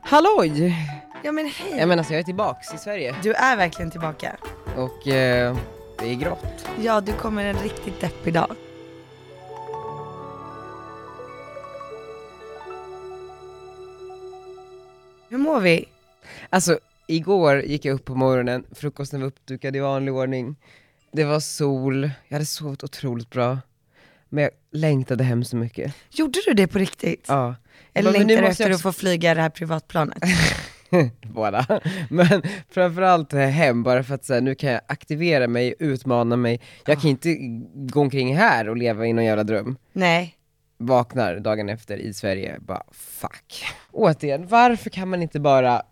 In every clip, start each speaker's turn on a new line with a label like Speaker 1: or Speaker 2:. Speaker 1: Halloj!
Speaker 2: Ja men hej!
Speaker 1: Jag menar, så alltså, jag är tillbaks i Sverige
Speaker 2: Du är verkligen tillbaka.
Speaker 1: och eh, det är grått.
Speaker 2: Ja, du kommer en riktigt deppig dag. Hur mår vi?
Speaker 1: Alltså, igår gick jag upp på morgonen, frukosten var uppdukad i vanlig ordning. Det var sol, jag hade sovit otroligt bra. Men jag längtade hem så mycket.
Speaker 2: Gjorde du det på riktigt?
Speaker 1: Ja.
Speaker 2: Eller
Speaker 1: Men nu
Speaker 2: längtar du
Speaker 1: måste
Speaker 2: efter
Speaker 1: jag
Speaker 2: att få flyga det här privatplanet?
Speaker 1: båda. Men framförallt hem, bara för att så här, nu kan jag aktivera mig, utmana mig. Jag kan inte gå omkring här och leva i någon jävla dröm.
Speaker 2: Nej.
Speaker 1: Vaknar dagen efter i Sverige, bara fuck. Återigen, varför kan man inte bara,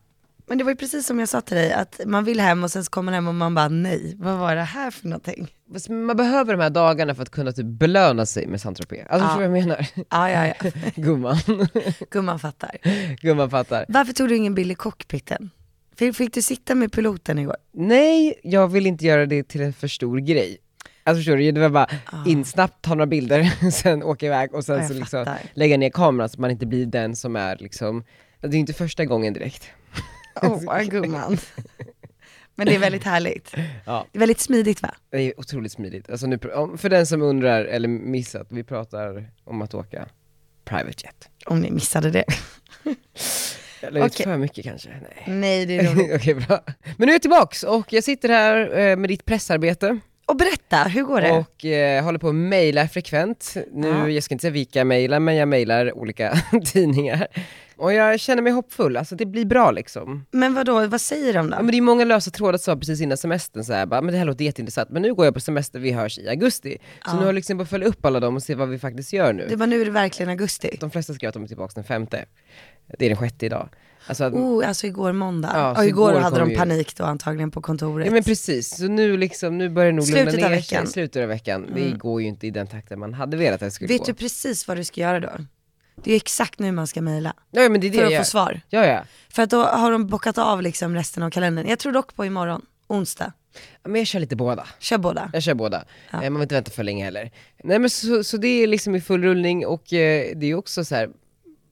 Speaker 2: Men det var ju precis som jag sa till dig, att man vill hem och sen så kommer man hem och man bara nej, vad var det här för någonting?
Speaker 1: man behöver de här dagarna för att kunna typ belöna sig med Saint Tropez. Alltså förstår du vad jag menar?
Speaker 2: Ja, ja, ja.
Speaker 1: Gumman.
Speaker 2: Gumman fattar.
Speaker 1: Gumman fattar.
Speaker 2: Varför tog du ingen bild i cockpiten? Fick, fick du sitta med piloten igår?
Speaker 1: Nej, jag vill inte göra det till en för stor grej. Alltså förstår du, det var bara in snabbt, ta några bilder, sen åka iväg och sen
Speaker 2: Ah. Ja, jag
Speaker 1: så liksom
Speaker 2: fattar.
Speaker 1: lägga ner kameran så att man inte blir den som är liksom, det är ju inte första gången direkt.
Speaker 2: Åh, gumman. Men det är väldigt härligt.
Speaker 1: Ja.
Speaker 2: Det är väldigt smidigt va?
Speaker 1: Det är otroligt smidigt. Alltså nu, pr- om- för den som undrar eller missat, vi pratar om att åka private jet.
Speaker 2: Om ni missade det.
Speaker 1: Jag la ut
Speaker 2: Okej.
Speaker 1: för mycket kanske? Nej.
Speaker 2: Nej, det är roligt.
Speaker 1: Okej, bra. Men nu är jag tillbaks och jag sitter här eh, med ditt pressarbete.
Speaker 2: Och berätta, hur går det?
Speaker 1: Och eh, håller på att mejla frekvent. Nu,
Speaker 2: Ja.
Speaker 1: jag ska inte säga vilka jag mejlar, men jag mejlar olika tidningar. Och jag känner mig hoppfull, alltså det blir bra liksom.
Speaker 2: Men vad då? vad säger de
Speaker 1: Ja,
Speaker 2: då?
Speaker 1: men det är många lösa trådar som var precis innan semestern, så här, bara, men det här låter jätteintressant, men nu går jag på semester, vi hörs i augusti. Så
Speaker 2: Ja.
Speaker 1: nu har jag liksom bara följa upp alla dem och se vad vi faktiskt gör nu.
Speaker 2: Du bara, nu är det verkligen augusti.
Speaker 1: De flesta skrev att de är tillbaka den femte. Det är den sjätte idag. Alltså, att-
Speaker 2: Oh, alltså igår måndag.
Speaker 1: Ja,
Speaker 2: Ja,
Speaker 1: så
Speaker 2: igår,
Speaker 1: igår
Speaker 2: hade
Speaker 1: kom
Speaker 2: de
Speaker 1: ju-
Speaker 2: panik då antagligen på kontoret.
Speaker 1: Ja men precis, så nu, liksom, nu börjar det nog
Speaker 2: Slutet
Speaker 1: lugna
Speaker 2: av
Speaker 1: ner
Speaker 2: veckan. Mm.
Speaker 1: sig. Slutet av veckan. Det går ju inte i den takten man hade velat att det skulle
Speaker 2: Vet
Speaker 1: gå.
Speaker 2: du precis vad du ska göra då? Det är exakt nu man ska mejla.
Speaker 1: ja, men det är det
Speaker 2: För
Speaker 1: jag
Speaker 2: att
Speaker 1: gör.
Speaker 2: få svar.
Speaker 1: Ja, ja.
Speaker 2: För att då har de bockat av liksom resten av kalendern. Jag tror dock på imorgon, onsdag.
Speaker 1: Men jag kör lite båda.
Speaker 2: Kör båda.
Speaker 1: Jag kör båda. Eh, Man vill inte vänta för länge heller. Nej men så, så det är liksom i full rullning och eh, det är ju också så här.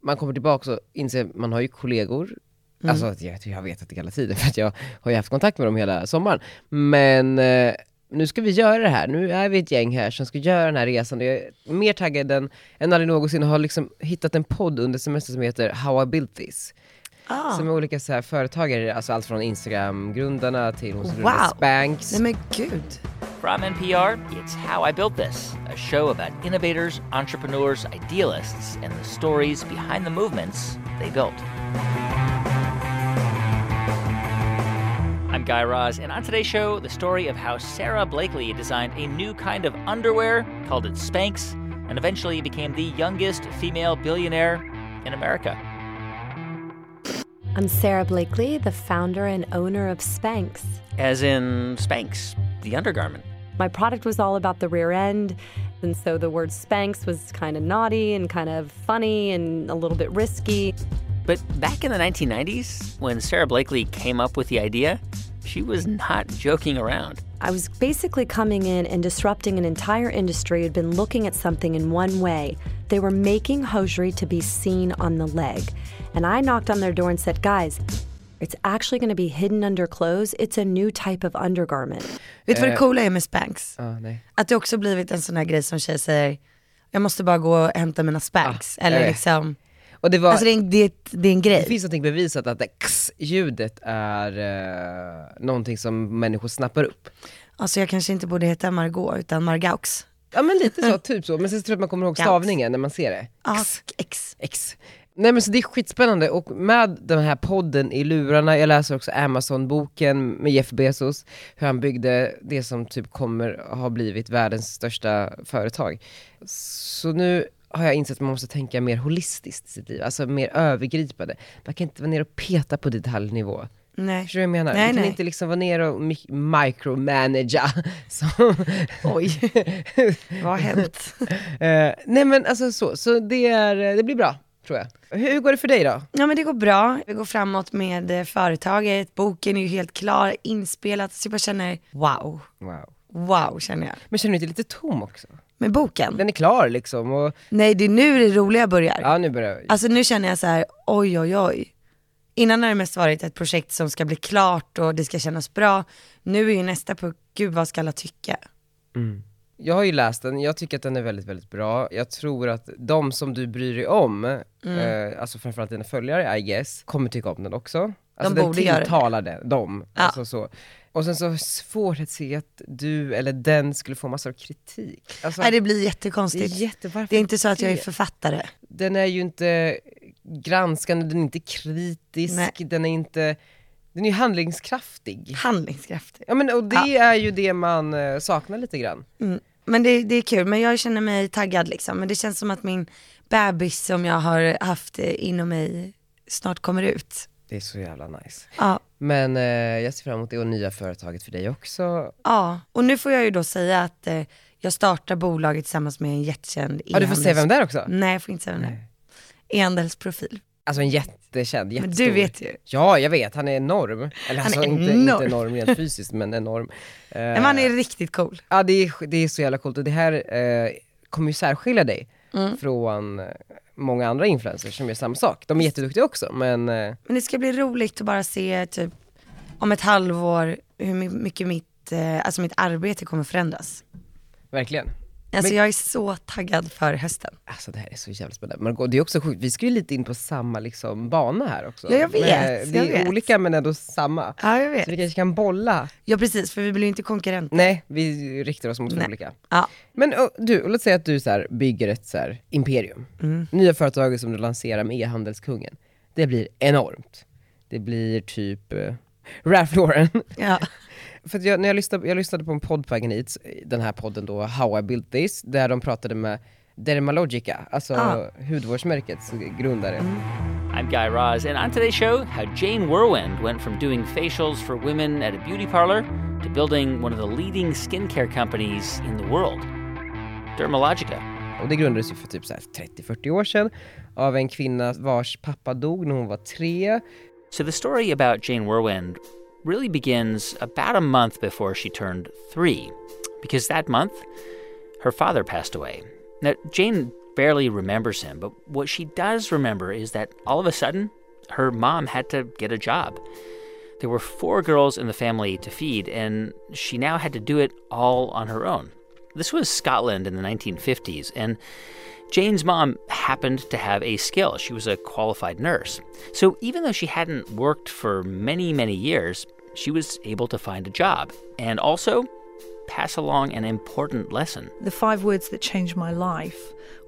Speaker 1: man kommer tillbaka och inser, man har ju kollegor.
Speaker 2: Mm.
Speaker 1: Alltså att jag, jag har vetat det hela tiden för att jag har ju haft kontakt med dem hela sommaren. Men eh, nu ska vi göra det här, nu är vi ett gäng här som ska göra den här resan. Jag är mer taggad än, än aldrig någonsin och har liksom hittat en podd under semestern som heter How I Built This.
Speaker 2: Ah.
Speaker 1: Som är olika så här företagare, alltså allt från Instagram-grundarna till hon som
Speaker 2: Wow.
Speaker 1: grundade Spanx.
Speaker 2: Nej men gud.
Speaker 3: From NPR, it's How I Built This, a show about innovators, entrepreneurs, idealists, and the stories behind the movements they built. I'm Guy Raz, and on today's show, the story of how Sarah Blakely designed a new kind of underwear, called it Spanx, and eventually became the youngest female billionaire in America.
Speaker 4: I'm Sarah Blakely, the founder and owner of Spanx.
Speaker 3: As in Spanx, the undergarment.
Speaker 4: My product was all about the rear end, and so the word Spanx was kind of naughty and kind of funny and a little bit risky.
Speaker 3: But back in the 1990s, when Sarah Blakely came up with the idea, she was not joking around.
Speaker 4: I was basically coming in and disrupting an entire industry who'd been looking at something in one way. They were making hosiery to be seen on the leg. And I knocked on their door and said, Guys, it's actually going to be hidden under clothes. It's a new type of undergarment.
Speaker 2: Vet
Speaker 1: Eh.
Speaker 2: du vad det coola är med Spanx?
Speaker 1: Ah, nej.
Speaker 2: Att det också blivit en sån här grej som tjejer säger, jag måste bara gå och hämta mina Spanx.
Speaker 1: Ah, jag
Speaker 2: Eller
Speaker 1: vet.
Speaker 2: liksom,
Speaker 1: Och det var,
Speaker 2: alltså det är, en, det, är ett, det är en
Speaker 1: Det
Speaker 2: grej.
Speaker 1: finns någonting bevisat att det x-ljudet är eh, någonting som människor snappar upp.
Speaker 2: Alltså jag kanske inte borde heta Margot utan Margaux.
Speaker 1: Ja men lite så, typ så. Men sen tror jag att man kommer ihåg
Speaker 2: Mm. Gans.
Speaker 1: stavningen när man ser det.
Speaker 2: Ask X.
Speaker 1: X. Nej men så det är skitspännande och med den här podden i lurarna, jag läser också Amazon-boken med Jeff Bezos, hur han byggde det som typ kommer ha blivit världens största företag. Så nu har jag insett att man måste tänka mer holistiskt i sitt liv, alltså mer övergripande. Man kan inte vara nere och peta på detaljnivå.
Speaker 2: Nej.
Speaker 1: Förstår du vad jag menar?
Speaker 2: Nej,
Speaker 1: du kan
Speaker 2: nej.
Speaker 1: inte liksom vara ner och mi- micromanagea. Som... Oj.
Speaker 2: Vad har hänt?
Speaker 1: nej men alltså så, så det, är, eh, det blir bra tror jag. Hur går det för dig då?
Speaker 2: ja men det går bra. Vi går framåt med eh, företaget. Boken är ju helt klar, inspelat. Så jag bara känner, wow.
Speaker 1: Wow.
Speaker 2: Wow känner jag.
Speaker 1: Men känner du dig lite tom också?
Speaker 2: Med boken?
Speaker 1: Den är klar liksom och,
Speaker 2: Nej det är nu det roliga börjar.
Speaker 1: ja nu börjar jag.
Speaker 2: Alltså nu känner jag så här, oj oj oj. Innan har det mest varit ett projekt som ska bli klart och det ska kännas bra. Nu är ju nästa på, gud vad ska alla tycka?
Speaker 1: Jag har ju läst den, jag tycker att den är väldigt, väldigt bra. Jag tror att de som du bryr dig om,
Speaker 2: Mm.
Speaker 1: eh, alltså framförallt dina följare I guess, kommer tycka om den också. Alltså den
Speaker 2: borde göra det.
Speaker 1: tilltalar den, dem.
Speaker 2: Ja.
Speaker 1: Alltså så. Och sen så svårt att se att du eller den skulle få massor av kritik. Alltså,
Speaker 2: Nej det blir
Speaker 1: det är
Speaker 2: jättekonstigt.
Speaker 1: jätte, varför
Speaker 2: Det är inte så att jag är
Speaker 1: det?
Speaker 2: författare.
Speaker 1: Den är ju inte granskande, den är inte kritisk,
Speaker 2: Nej.
Speaker 1: den är inte, den är ju handlingskraftig.
Speaker 2: Handlingskraftig.
Speaker 1: Ja men och det är ju det man eh, saknar lite grann.
Speaker 2: Mm. Men det, det är kul, men jag känner mig taggad liksom. Men det känns som att min bebis som jag har haft eh, inom mig snart kommer ut.
Speaker 1: Det är så jävla nice.
Speaker 2: Ja,
Speaker 1: Men eh, jag ser fram emot det och nya företaget för dig också.
Speaker 2: ja. och nu får jag ju då säga att eh, jag startar bolaget tillsammans med en jättekänd
Speaker 1: Ja du får säga vem det är också.
Speaker 2: Nej, jag får inte säga vem det är. E-handelsprofil.
Speaker 1: Alltså en jättekänd,
Speaker 2: Men
Speaker 1: jättestor.
Speaker 2: du vet ju.
Speaker 1: Ja jag vet, han är enorm. Eller alltså
Speaker 2: är
Speaker 1: inte,
Speaker 2: enorm.
Speaker 1: inte enorm rent fysiskt men enorm. Eh,
Speaker 2: Men han är riktigt cool.
Speaker 1: Ja det är, det är så jävla coolt och det här eh, kommer ju särskilja dig
Speaker 2: Mm.
Speaker 1: från eh, många andra influencers som gör samma sak. De är jätteduktiga också men eh,
Speaker 2: Men det ska bli roligt att bara se typ om ett halvår hur my- mycket mitt, eh, alltså mitt arbete kommer förändras.
Speaker 1: verkligen.
Speaker 2: Alltså
Speaker 1: Men-
Speaker 2: jag är så taggad för hösten.
Speaker 1: Alltså det här är så jävla spännande. Margot, det är också sjukt, vi ska ju lite in på samma liksom bana här också.
Speaker 2: Ja, jag vet,
Speaker 1: Men, det är
Speaker 2: jag vet.
Speaker 1: olika men ändå samma.
Speaker 2: Ja, jag
Speaker 1: Så vi
Speaker 2: vet.
Speaker 1: kanske kan bolla.
Speaker 2: Ja, precis, för vi blir ju inte konkurrenter.
Speaker 1: Nej, vi riktar oss mot
Speaker 2: Nej.
Speaker 1: olika.
Speaker 2: Ja.
Speaker 1: Men ö, du, och låt säga att du så här, bygger ett så här, imperium.
Speaker 2: Mm.
Speaker 1: Nya företaget som du lanserar med e-handelskungen. Det blir enormt. Det blir typ eh, Ralph Lauren.
Speaker 2: Ja.
Speaker 1: För att jag, när jag, lyssnade, jag lyssnade på en podd på vägen hit, den här podden då, How I Built This, där de pratade med Dermalogica, alltså
Speaker 2: Ah. Mm.
Speaker 1: hudvårdsmärkets grundare.
Speaker 3: I'm Guy Raz, and on today's show, how Jane Whirlwind went from doing facials for women at a beauty parlor to building one of the leading skincare companies in the world, Dermalogica.
Speaker 1: Och det grundades ju för typ så här 30-40 år sedan av en kvinna vars pappa dog när hon var tre.
Speaker 3: So the story about Jane Whirlwind really begins about a month before she turned three, because that month, her father passed away. Now, Jane barely remembers him, but what she does remember is that all of a sudden, her mom had to get a job. There were four girls in the family to feed, and she now had to do it all on her own. This was Scotland in the 1950s, and Jane's mom happened to have a skill. She was a qualified nurse. So even though she hadn't worked for many, many years, she was able to find a job and also pass along an important lesson.
Speaker 5: The five words that changed my life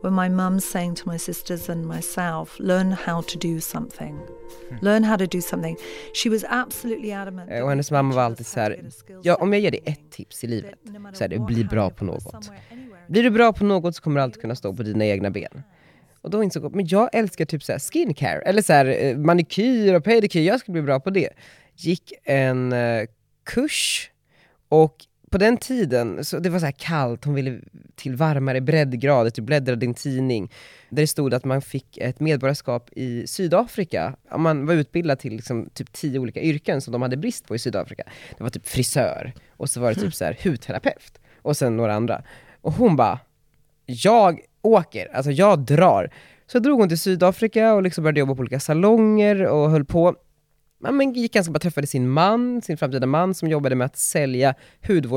Speaker 5: were my mum saying to my sisters and myself, learn how to do something. Learn how to do something. She was absolutely adamant.
Speaker 1: Hmm. Eh,
Speaker 5: that
Speaker 1: Och hennes
Speaker 5: each
Speaker 1: mamma var
Speaker 5: of us
Speaker 1: alltid
Speaker 5: had
Speaker 1: så
Speaker 5: to
Speaker 1: här,
Speaker 5: get a skill
Speaker 1: ja
Speaker 5: set
Speaker 1: om jag ger dig
Speaker 5: thing,
Speaker 1: ett tips i livet,
Speaker 5: that no matter
Speaker 1: så är det
Speaker 5: what
Speaker 1: bli bra
Speaker 5: happened
Speaker 1: på
Speaker 5: or
Speaker 1: något.
Speaker 5: somewhere, anywhere,
Speaker 1: Blir du bra på något så kommer du alltid kunna stå på dina egna ben. Och då insåg jag, men jag älskar typ så här skincare, eller så här, eh, manikyr och pedikyr, jag skulle bli bra på det. Gick en eh, kurs och på den tiden, så det var så här kallt, hon ville till varmare breddgrader, typ bläddrade i en tidning, där det stod att man fick ett medborgarskap i Sydafrika, om man var utbildad till liksom typ tio olika yrken som de hade brist på i Sydafrika. Det var typ frisör, och så var det typ så här hudterapeut, och sen några andra. Och hon bara, jag åker, alltså jag drar. Så drog hon till Sydafrika och liksom började jobba på olika salonger och höll på. Ja, Men gick ganska bra, träffade sin man, sin framtida man som jobbade med att sälja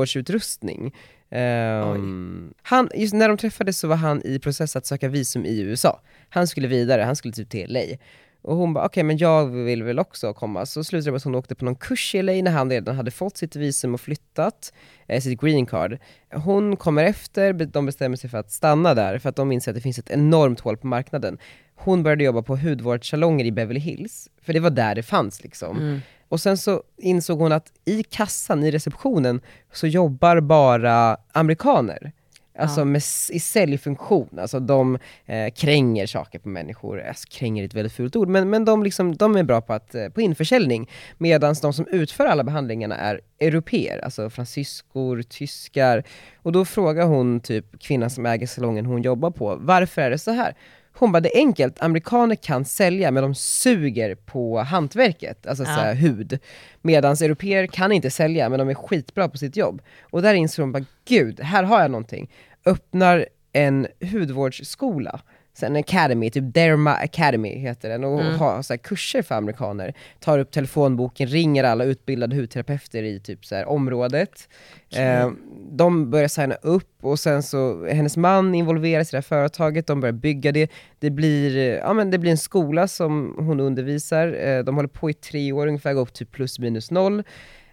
Speaker 1: hudvårdsutrustning. Ehm, han, just när de träffades så var han i process att söka visum i USA. Han skulle vidare, han skulle typ till LA. Och hon bara, okej men jag vill väl också komma. Så slutade det med att hon åkte på någon kurs i LA när han redan hade fått sitt visum och flyttat, eh, sitt green card. Hon kommer efter, be- de bestämmer sig för att stanna där, för att de inser att det finns ett enormt hål på marknaden. Hon började jobba på hudvårdssalonger i Beverly Hills, för det var där det fanns liksom. Och sen så insåg hon att i kassan, i receptionen, så jobbar bara amerikaner. Alltså med, s- i säljfunktion, alltså de eh, kränger saker på människor. Alltså, kränger är ett väldigt fult ord, men, men de, liksom, de är bra på, att, eh, på införsäljning. Medan de som utför alla behandlingarna är europeer, alltså fransyskor, tyskar. Och då frågar hon typ kvinnan som äger salongen hon jobbar på, varför är det så här? Hon bara, det är enkelt, amerikaner kan sälja men de suger på hantverket, alltså så här, hud. Medan europeer kan inte sälja men de är skitbra på sitt jobb. Och där inser hon bara, gud, här har jag någonting. Öppnar en hudvårdsskola en academy, typ Derma Academy heter den, och har så här kurser för amerikaner. Tar upp telefonboken, ringer alla utbildade hudterapeuter i typ så här området. Eh, de börjar signa upp och sen så, hennes man involveras i det här företaget, de börjar bygga det. Det blir, eh, ja, men det blir en skola som hon undervisar, eh, de håller på i tre år ungefär, går upp till plus minus noll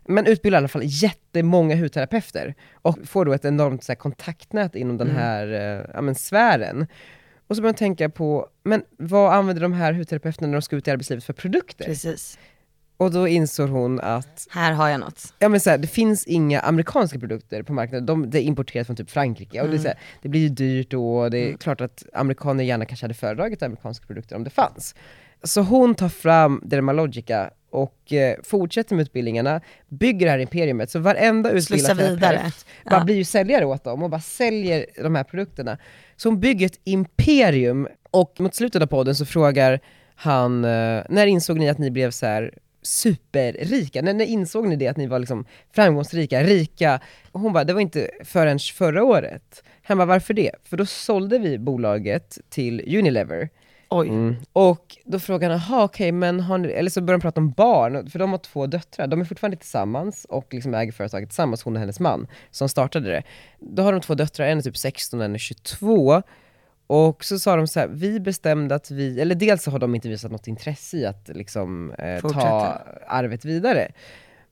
Speaker 1: men utbildar i alla fall jättemånga hudterapeuter och får då ett enormt så här, kontaktnät inom den här eh, ja, men, sfären. Och så börjar man tänka på, men vad använder de här hudterapeuterna när de ska ut i arbetslivet för produkter?
Speaker 2: Precis.
Speaker 1: Och då insåg hon att
Speaker 2: Här har jag något.
Speaker 1: ja, men så här, det finns inga amerikanska produkter på marknaden, de, det är importerat från typ Frankrike.
Speaker 2: Mm.
Speaker 1: Och det, är så här, det blir ju dyrt då, det är klart att amerikaner gärna kanske hade föredragit amerikanska produkter om det fanns. Så hon tar fram Dermalogica och eh, fortsätter med utbildningarna, bygger det här imperiumet, så varenda
Speaker 2: Slussa
Speaker 1: utbildad
Speaker 2: vidare.
Speaker 1: terapeut bara blir ju säljare åt dem och bara säljer de här produkterna. Så hon bygger ett imperium och mot slutet av podden så frågar han, eh, när insåg ni att ni blev så här superrika? När, när insåg ni det att ni var liksom framgångsrika, rika? Och hon bara, det var inte förrän förra året. Han bara, varför det? För då sålde vi bolaget till Unilever.
Speaker 2: Oj.
Speaker 1: Mm. Och då frågar han, jaha okej, men har ni, eller så börjar de prata om barn, för de har två döttrar, de är fortfarande tillsammans och liksom äger företaget tillsammans, hon och hennes man, som startade det. Då har de två döttrar, en är typ 16 och en är 22. Och så sa de så här, vi bestämde att vi, eller dels så har de inte visat något intresse i att liksom, eh, ta
Speaker 2: Fortsätta.
Speaker 1: arvet vidare.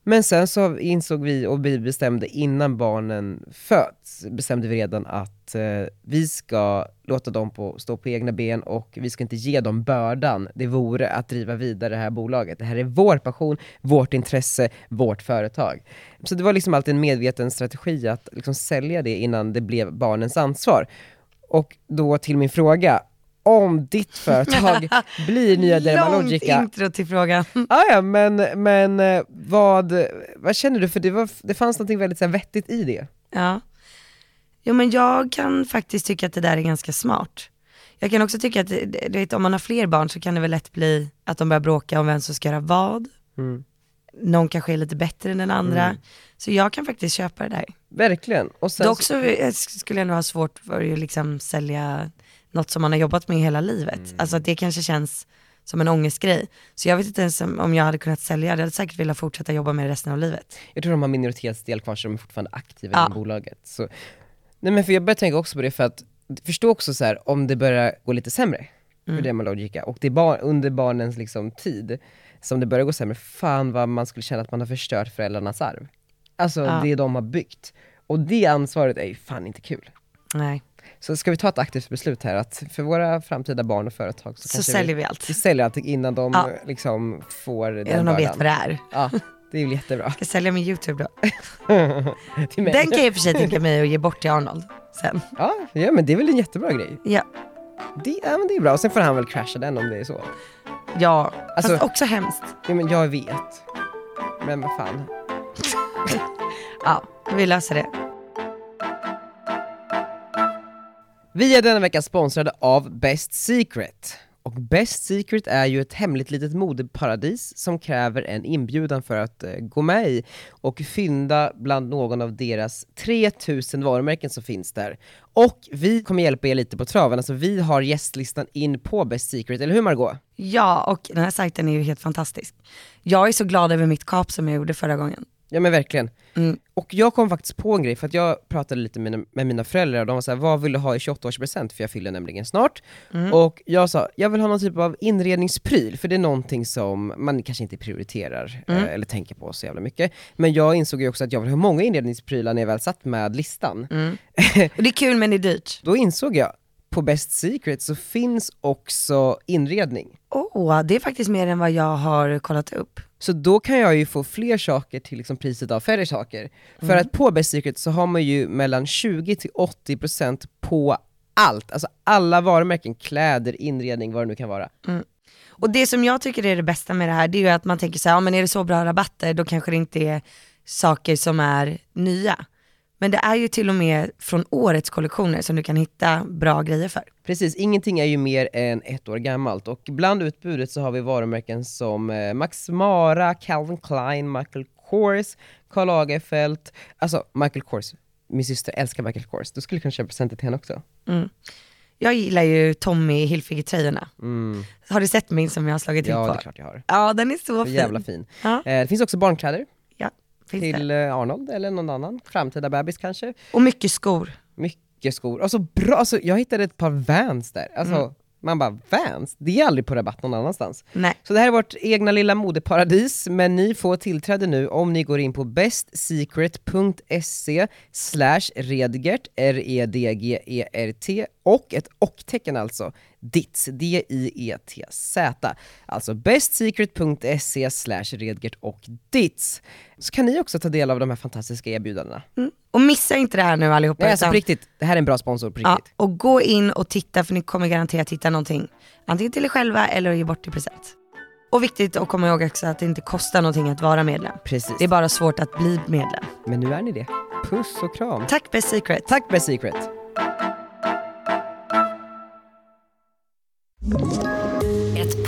Speaker 1: Men sen så insåg vi, och vi bestämde innan barnen föds, bestämde vi redan att eh, vi ska låta dem på, stå på egna ben och vi ska inte ge dem bördan det vore att driva vidare det här bolaget. Det här är vår passion, vårt intresse, vårt företag. Så det var liksom alltid en medveten strategi att liksom sälja det innan det blev barnens ansvar. Och då till min fråga, om ditt företag blir nya Dermalogica,
Speaker 2: Långt intro till frågan.
Speaker 1: Ah, ja, men, men eh, vad, vad känner du? För det, var, det fanns något väldigt så här, vettigt i det.
Speaker 2: Ja. Jo men jag kan faktiskt tycka att det där är ganska smart. Jag kan också tycka att det- det- du vet, om man har fler barn så kan det väl lätt bli att de börjar bråka om vem som ska göra vad.
Speaker 1: Mm.
Speaker 2: Någon kanske är lite bättre än den andra. Så jag kan faktiskt köpa det där.
Speaker 1: Verkligen. Och sen,
Speaker 2: Dock så eh, sk- skulle jag nog ha svårt för att liksom sälja något som man har jobbat med hela livet.
Speaker 1: Mm.
Speaker 2: Alltså att det kanske känns som en ångestgrej. Så jag vet inte ens om om jag hade kunnat sälja det. Jag hade säkert velat fortsätta jobba med det resten av livet.
Speaker 1: jag tror de har minoritetsdel kvar så de är fortfarande aktiva
Speaker 2: Ja.
Speaker 1: inom bolaget. Så, nej, men för jag börjar tänka också på det för att förstå också så här, om det börjar gå lite sämre
Speaker 2: Mm.
Speaker 1: för Dermalogica och det är bar, under barnens liksom, tid som det börjar gå sämre, fan vad man skulle känna att man har förstört föräldrarnas arv. Alltså det de har byggt. Och det ansvaret är ju fan inte kul.
Speaker 2: Nej,
Speaker 1: Så ska vi ta ett aktivt beslut här att för våra framtida barn och företag så,
Speaker 2: så
Speaker 1: kanske
Speaker 2: säljer
Speaker 1: vi,
Speaker 2: vi allt.
Speaker 1: vi säljer allting innan de
Speaker 2: Ja.
Speaker 1: eh, liksom får den
Speaker 2: Eller om de vet
Speaker 1: bördan.
Speaker 2: vad det är.
Speaker 1: Ja, det är väl jättebra.
Speaker 2: Ska sälja min YouTube då?
Speaker 1: Till mig.
Speaker 2: Den kan jag i och för sig tänka mig att ge bort till Arnold sen.
Speaker 1: Ja, ja, men det är väl en jättebra grej.
Speaker 2: Ja,
Speaker 1: Det, ja, men det är bra. Och sen får han väl crasha den om det är så.
Speaker 2: ja.
Speaker 1: Alltså-
Speaker 2: fast också hemskt.
Speaker 1: Ja, men jag vet. Men vad fan.
Speaker 2: Ja, vi löser det.
Speaker 1: Vi är denna vecka sponsrade av Best Secret. Och Best Secret är ju ett hemligt litet modeparadis som kräver en inbjudan för att eh, gå med i och fynda bland någon av deras 3000 varumärken som finns där. Och vi kommer hjälpa er lite på traven, alltså vi har gästlistan in på Best Secret, eller hur Margot?
Speaker 2: Ja, och den här sajten är ju helt fantastisk. Jag är så glad över mitt kap som jag gjorde förra gången.
Speaker 1: Ja men verkligen.
Speaker 2: Mm.
Speaker 1: Och jag kom faktiskt på en grej, för att jag pratade lite med, med mina föräldrar och de var såhär, vad vill du ha i 28-årspresent? För jag fyller nämligen snart. Och jag sa, jag vill ha någon typ av inredningspryl, för det är någonting som man kanske inte prioriterar eh, eller tänker på så jävla mycket. Men jag insåg ju också att jag vill ha många inredningsprylar när jag väl satt med listan.
Speaker 2: Och det är kul men det är dyrt.
Speaker 1: Då insåg jag, på Best Secret så finns också inredning.
Speaker 2: Åh, det är faktiskt mer än vad jag har kollat upp.
Speaker 1: Så då kan jag ju få fler saker till liksom priset av färre saker. För att på Best Secret så har man ju mellan 20 till 80% på allt. Alltså alla varumärken, kläder, inredning, vad det nu kan vara.
Speaker 2: Och det som jag tycker är det bästa med det här, det är ju att man tänker så här, ja men är det så bra rabatter, då kanske det inte är saker som är nya. Men det är ju till och med från årets kollektioner som du kan hitta bra grejer för.
Speaker 1: Precis, ingenting är ju mer än ett år gammalt. Och bland utbudet så har vi varumärken som eh, Max Mara, Calvin Klein, Michael Kors, Karl Lagerfeld. Alltså Michael Kors, min syster älskar Michael Kors. Du skulle kunna köpa presenter till henne också.
Speaker 2: Jag gillar ju Tommy Hilfiger-tröjorna.
Speaker 1: Mm.
Speaker 2: Har du sett min som jag har slagit till
Speaker 1: Ja, det
Speaker 2: på?
Speaker 1: är klart jag har.
Speaker 2: Ja den är så
Speaker 1: Så
Speaker 2: fin.
Speaker 1: jävla fin.
Speaker 2: Ja.
Speaker 1: Eh, det finns också barnkläder
Speaker 2: Finns det.
Speaker 1: till eh, Arnold eller någon annan framtida bebis kanske.
Speaker 2: Och mycket skor.
Speaker 1: Mycket skor. Alltså bra, alltså, jag hittade ett par Vans där. Alltså, Man bara, Vans? Det är aldrig på rabatt någon annanstans.
Speaker 2: Mm. Nej.
Speaker 1: Så det här är vårt egna lilla modeparadis, men ni får tillträde nu om ni går in på bestsecret.se slash redgert, E R-E-D-G-E-R-T, och ett och-tecken alltså, dits, D-I-E-T-Z. Alltså bestsecret.se slash redgert och dits. Så kan ni också ta del av de här fantastiska erbjudandena.
Speaker 2: Mm. Och missa inte det här nu allihopa.
Speaker 1: Nej, alltså
Speaker 2: utan-
Speaker 1: på riktigt, det här är en bra sponsor på
Speaker 2: ja,
Speaker 1: riktigt.
Speaker 2: och gå in och titta för ni kommer garanterat hitta någonting. Antingen till er själva eller ge bort i present. Och viktigt att komma ihåg också att det inte kostar någonting att vara medlem.
Speaker 1: Precis.
Speaker 2: Det är bara svårt att bli medlem.
Speaker 1: Men nu är ni det. Puss och kram.
Speaker 2: Tack Best Secret.
Speaker 1: Tack Best Secret.
Speaker 6: Ett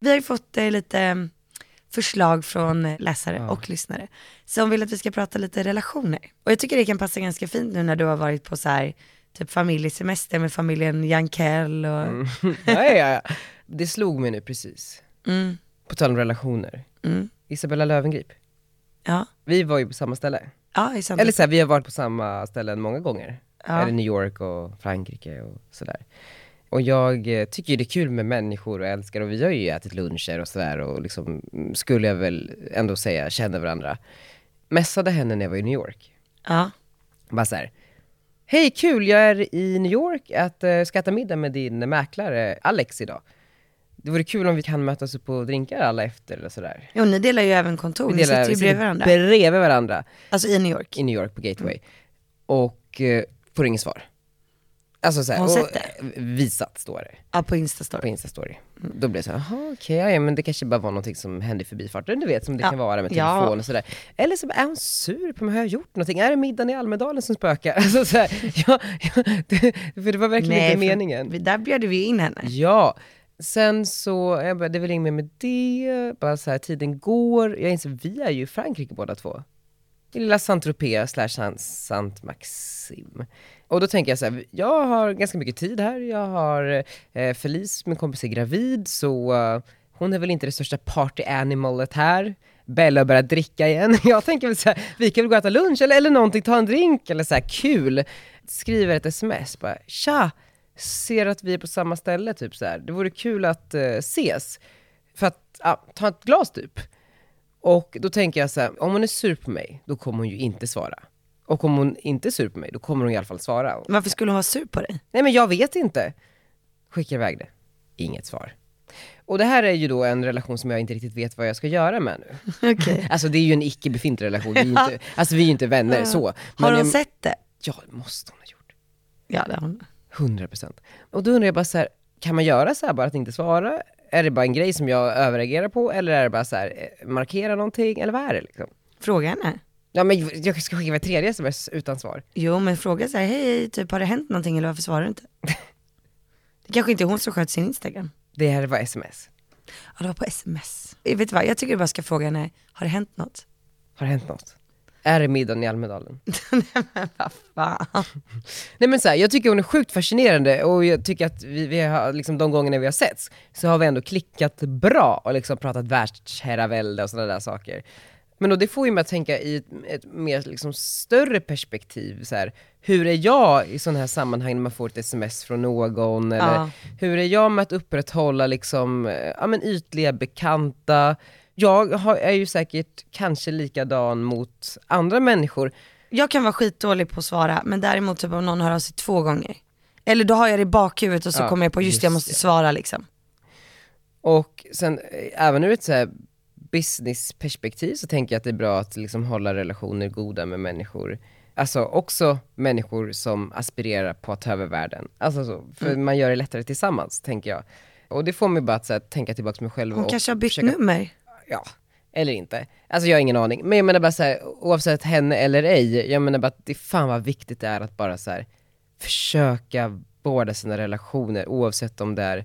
Speaker 2: Vi har ju fått eh, lite eh, förslag från eh, läsare och lyssnare som vill att vi ska prata lite relationer. Och jag tycker det kan passa ganska fint nu när du har varit på så här typ familjesemester med familjen Jankell och
Speaker 1: Mm. Nej, ja, ja. Det slog mig nu precis.
Speaker 2: Mm.
Speaker 1: På tal om relationer.
Speaker 2: Mm.
Speaker 1: Isabella Löwengrip.
Speaker 2: ja,
Speaker 1: Vi var ju på samma ställe.
Speaker 2: ja i
Speaker 1: Eller
Speaker 2: samtidigt.
Speaker 1: så här, vi har varit på samma ställen många gånger.
Speaker 2: Ja.
Speaker 1: Eller New York och Frankrike och sådär. Och jag eh, tycker ju det är kul med människor och älskar och vi har ju ätit luncher och sådär och liksom, mm, skulle jag väl ändå säga, känner varandra. Messade henne när jag var i New York.
Speaker 2: Ja.
Speaker 1: Bara så här. Hej kul, jag är i New York att uh, ska äta middag med din mäklare Alex idag. Det vore kul om vi kan mötas upp och drinkar alla efter eller sådär.
Speaker 2: Jo, ni delar ju även kontor, ni sitter ju bredvid varandra.
Speaker 1: bredvid varandra
Speaker 2: Alltså i New York.
Speaker 1: i New York på Gateway. Och eh, får inget svar. Alltså såhär,
Speaker 2: Har hon
Speaker 1: och,
Speaker 2: sett det?
Speaker 1: eh, visat står det
Speaker 2: Ja, på
Speaker 1: på
Speaker 2: Instastory.
Speaker 1: Instastory.
Speaker 2: Mm.
Speaker 1: Då blev det såhär, jaha okej, ja, ja, men det kanske bara var någonting som hände i förbifarten, du vet som det
Speaker 2: Ja.
Speaker 1: kan vara med
Speaker 2: Ja.
Speaker 1: telefon och sådär. Eller så bara, är hon sur på mig, har jag gjort någonting? Är det middagen i Almedalen som spökar? Alltså såhär, ja, ja, det, för det var verkligen inte
Speaker 2: för
Speaker 1: meningen. Mm.
Speaker 2: vi- Där bjöd vi in henne.
Speaker 1: Ja, sen så, jag bara, det är väl inget mer med det, bara så här, tiden går. Jag inser, vi är ju i Frankrike båda två. I lilla Saint-Tropez slash Saint- Saint-Maxim. Och då tänker jag så här, jag har ganska mycket tid här, jag har eh, Felice, min kompis, är gravid, så eh, hon är väl inte det största party-animalet här. Bella börjar dricka igen. Jag tänker väl så här, vi kan väl gå och äta lunch eller, eller någonting, ta en drink eller så här kul. Skriver ett sms bara, tja, ser att vi är på samma ställe, typ så här. det vore kul att eh, ses. För att, ja, ta ett glas typ. Och då tänker jag så här, om hon är sur på mig, då kommer hon ju inte svara. Och om hon inte är sur på mig, då kommer hon i alla fall svara.
Speaker 2: Varför skulle hon vara sur på dig?
Speaker 1: Nej men jag vet inte. Skickar iväg det. Inget svar. Och det här är ju då en relation som jag inte riktigt vet vad jag ska göra med nu.
Speaker 2: Okej.
Speaker 1: Alltså det är ju en icke befintlig relation, vi är ju inte, alltså vi är ju inte vänner så.
Speaker 2: Har
Speaker 1: Men
Speaker 2: hon
Speaker 1: jag-
Speaker 2: sett det?
Speaker 1: Ja, det måste hon ha gjort.
Speaker 2: Ja, det har hon.
Speaker 1: 100 procent. Och då undrar jag bara så här, kan man göra så här bara att inte svara? Är det bara en grej som jag överreagerar på eller är det bara så här, eh, markera någonting eller vad är det liksom?
Speaker 2: Fråga henne.
Speaker 1: Ja men jag ska skicka ett tredje sms utan svar.
Speaker 2: Jo, men fråga så här, hej, typ har det hänt någonting eller varför svarar du inte? Det kanske inte är hon som sköt sin Instagram.
Speaker 1: Det här var sms.
Speaker 2: Ja, det var på sms. Eh, Vet du vad, jag tycker du bara ska fråga henne, har det hänt något?
Speaker 1: Har det hänt något? Är det middagen i Almedalen?
Speaker 2: Vad fan.
Speaker 1: Nej men så här, jag tycker hon är sjukt fascinerande och jag tycker att vi, vi har, liksom, de gångerna vi har setts så har vi ändå klickat bra och liksom pratat världsherravälde och sådana där saker. Men då det får ju mig att tänka i ett, ett mer liksom, större perspektiv, så här, hur är jag i sådana här sammanhang när man får ett sms från någon? Eller
Speaker 2: Ja.
Speaker 1: Hur är jag med att upprätthålla liksom, eh, ja, men ytliga bekanta? Jag har, är ju säkert kanske likadan mot andra människor,
Speaker 2: Jag kan vara skitdålig på att svara, men däremot typ om någon hör av sig två gånger. Eller då har jag det i bakhuvudet och så
Speaker 1: Ja,
Speaker 2: kommer jag på, just, det, jag
Speaker 1: just
Speaker 2: måste
Speaker 1: det.
Speaker 2: svara liksom.
Speaker 1: Och sen eh, även ur ett så här businessperspektiv så tänker jag att det är bra att liksom hålla relationer goda med människor Alltså också människor som aspirerar på att ta över världen. Alltså så, för
Speaker 2: Mm.
Speaker 1: man gör det lättare tillsammans, tänker jag. Och det får mig bara att så här, tänka tillbaka på mig själv
Speaker 2: Hon
Speaker 1: och
Speaker 2: kanske har bytt
Speaker 1: försöka
Speaker 2: nummer.
Speaker 1: ja, eller inte. Alltså jag har ingen aning. Men jag menar bara så här, oavsett henne eller ej, jag menar bara att det fan vad viktigt det är att bara så här, försöka vårda sina relationer oavsett om det är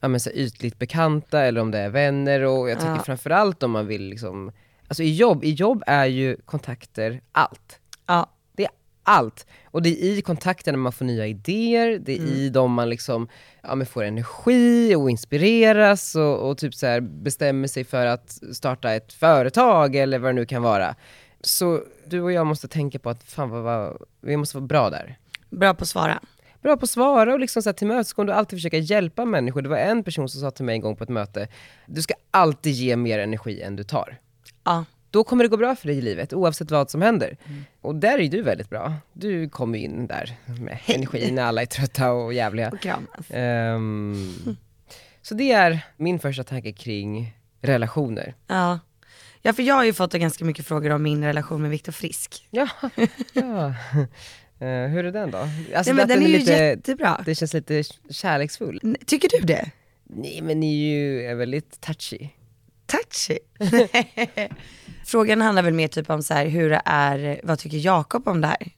Speaker 1: ja, men så här, ytligt bekanta eller om det är vänner och jag tycker
Speaker 2: Ja.
Speaker 1: framförallt om man vill liksom, alltså i jobb, i jobb är ju kontakter allt.
Speaker 2: Ja.
Speaker 1: Det är allt. Och det är i kontakterna man får nya idéer, det är i dem man liksom, ja, men får energi och inspireras och, och typ så här bestämmer sig för att starta ett företag eller vad det nu kan vara. Så du och jag måste tänka på att fan vad, vad vi måste vara bra där.
Speaker 2: Bra på att svara.
Speaker 1: Bra på att svara och liksom så här tillmötesgående och alltid försöka hjälpa människor. Det var en person som sa till mig en gång på ett möte, du ska alltid ge mer energi än du tar
Speaker 2: Ja.
Speaker 1: då kommer det gå bra för dig i livet oavsett vad som händer.
Speaker 2: Mm.
Speaker 1: Och där är ju du väldigt bra. Du kommer ju in där med energi när alla är trötta och jävliga.
Speaker 2: Och kramas.
Speaker 1: Ehm, så det är min första tanke kring relationer.
Speaker 2: Ja. ja, för jag har ju fått ganska mycket frågor om min relation med Viktor Frisk.
Speaker 1: Ja, ja. Eh, hur är den då? Alltså,
Speaker 2: Nej, men
Speaker 1: att
Speaker 2: den är ju
Speaker 1: lite,
Speaker 2: jättebra.
Speaker 1: Det känns lite kärleksfull.
Speaker 2: N- Tycker du det?
Speaker 1: Nej men ni är ju är väldigt touchy.
Speaker 2: touchy. Frågan handlar väl mer typ om så här, hur det är, vad tycker Jakob om det här?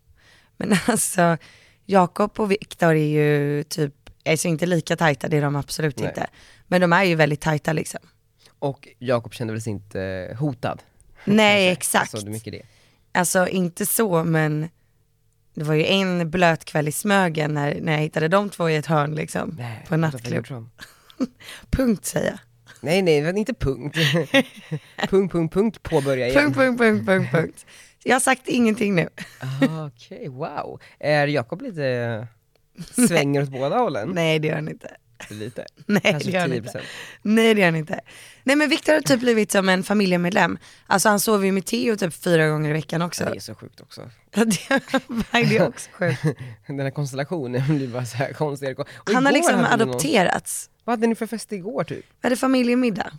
Speaker 2: Men alltså, Jakob och Viktor är ju typ, alltså inte lika tajta, det är de absolut
Speaker 1: Nej.
Speaker 2: inte. Men de är ju väldigt tajta liksom.
Speaker 1: Och Jakob kände väl sig inte hotad.
Speaker 2: Nej
Speaker 1: Exakt.
Speaker 2: exakt.
Speaker 1: Så det är mycket det.
Speaker 2: Alltså inte så men det var ju en blöt kväll i Smögen när, när jag hittade de två i ett hörn liksom.
Speaker 1: Nej,
Speaker 2: på en
Speaker 1: jag tror att jag
Speaker 2: nattklubb.
Speaker 1: gjort om.
Speaker 2: Punkt säger jag.
Speaker 1: Nej nej, men inte punkt. punkt, punkt, punkt, påbörja igen.
Speaker 2: Punkt, punkt, punkt, punkt, punkt. Jag har sagt ingenting nu.
Speaker 1: Ah, Okej, wow. Är Jakob lite, eh, svänger åt båda hållen?
Speaker 2: Nej det gör han inte.
Speaker 1: Lite?
Speaker 2: Nej
Speaker 1: Kanske
Speaker 2: det gör han
Speaker 1: 10%.
Speaker 2: inte. Nej det gör han inte. Nej men Viktor har typ blivit som en familjemedlem. Alltså han sover ju med Theo typ fyra gånger i veckan också.
Speaker 1: Det är så sjukt också.
Speaker 2: Ja, det- Nej, det är också sjukt.
Speaker 1: Den här konstellationen blir bara så här konstig. Och
Speaker 2: Han har
Speaker 1: igår
Speaker 2: liksom
Speaker 1: hade ni någon-
Speaker 2: adopterats.
Speaker 1: Vad hade ni för fest igår typ?
Speaker 2: Vi hade familjemiddag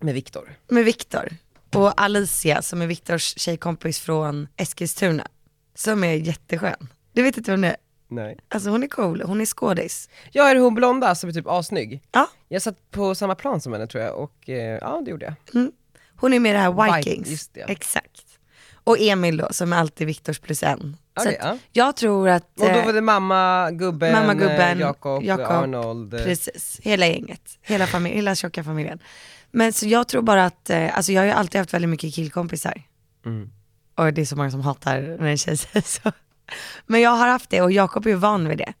Speaker 1: Med Viktor?
Speaker 2: med Viktor och Alicia som är Viktors tjejkompis från Eskilstuna. Som är jätteskön. Du vet inte vem det är?
Speaker 1: Nej.
Speaker 2: Alltså hon är cool, hon är skådis.
Speaker 1: Ja, är det hon blonda som är typ assnygg?
Speaker 2: Ja,
Speaker 1: Jag satt på samma plan som henne tror jag och eh, ja, det gjorde jag.
Speaker 2: hon är med i det här
Speaker 1: Vi-
Speaker 2: Vikings.
Speaker 1: just det.
Speaker 2: Exakt. Och Emil då som är alltid Viktors plus en. Så
Speaker 1: Okej,
Speaker 2: att
Speaker 1: ja.
Speaker 2: jag tror att...
Speaker 1: Och då
Speaker 2: eh,
Speaker 1: var det mamma, gubben,
Speaker 2: Mamma, gubben,
Speaker 1: eh, Jakob,
Speaker 2: Jakob,
Speaker 1: Arnold. eh,
Speaker 2: Precis, hela gänget, hela, famil- hela tjocka familjen. Men så jag tror bara att, eh, alltså jag har ju alltid haft väldigt mycket killkompisar.
Speaker 1: Mm.
Speaker 2: Och det är så många som hatar när en tjej säger så. Men jag har haft det och Jakob är ju van vid det.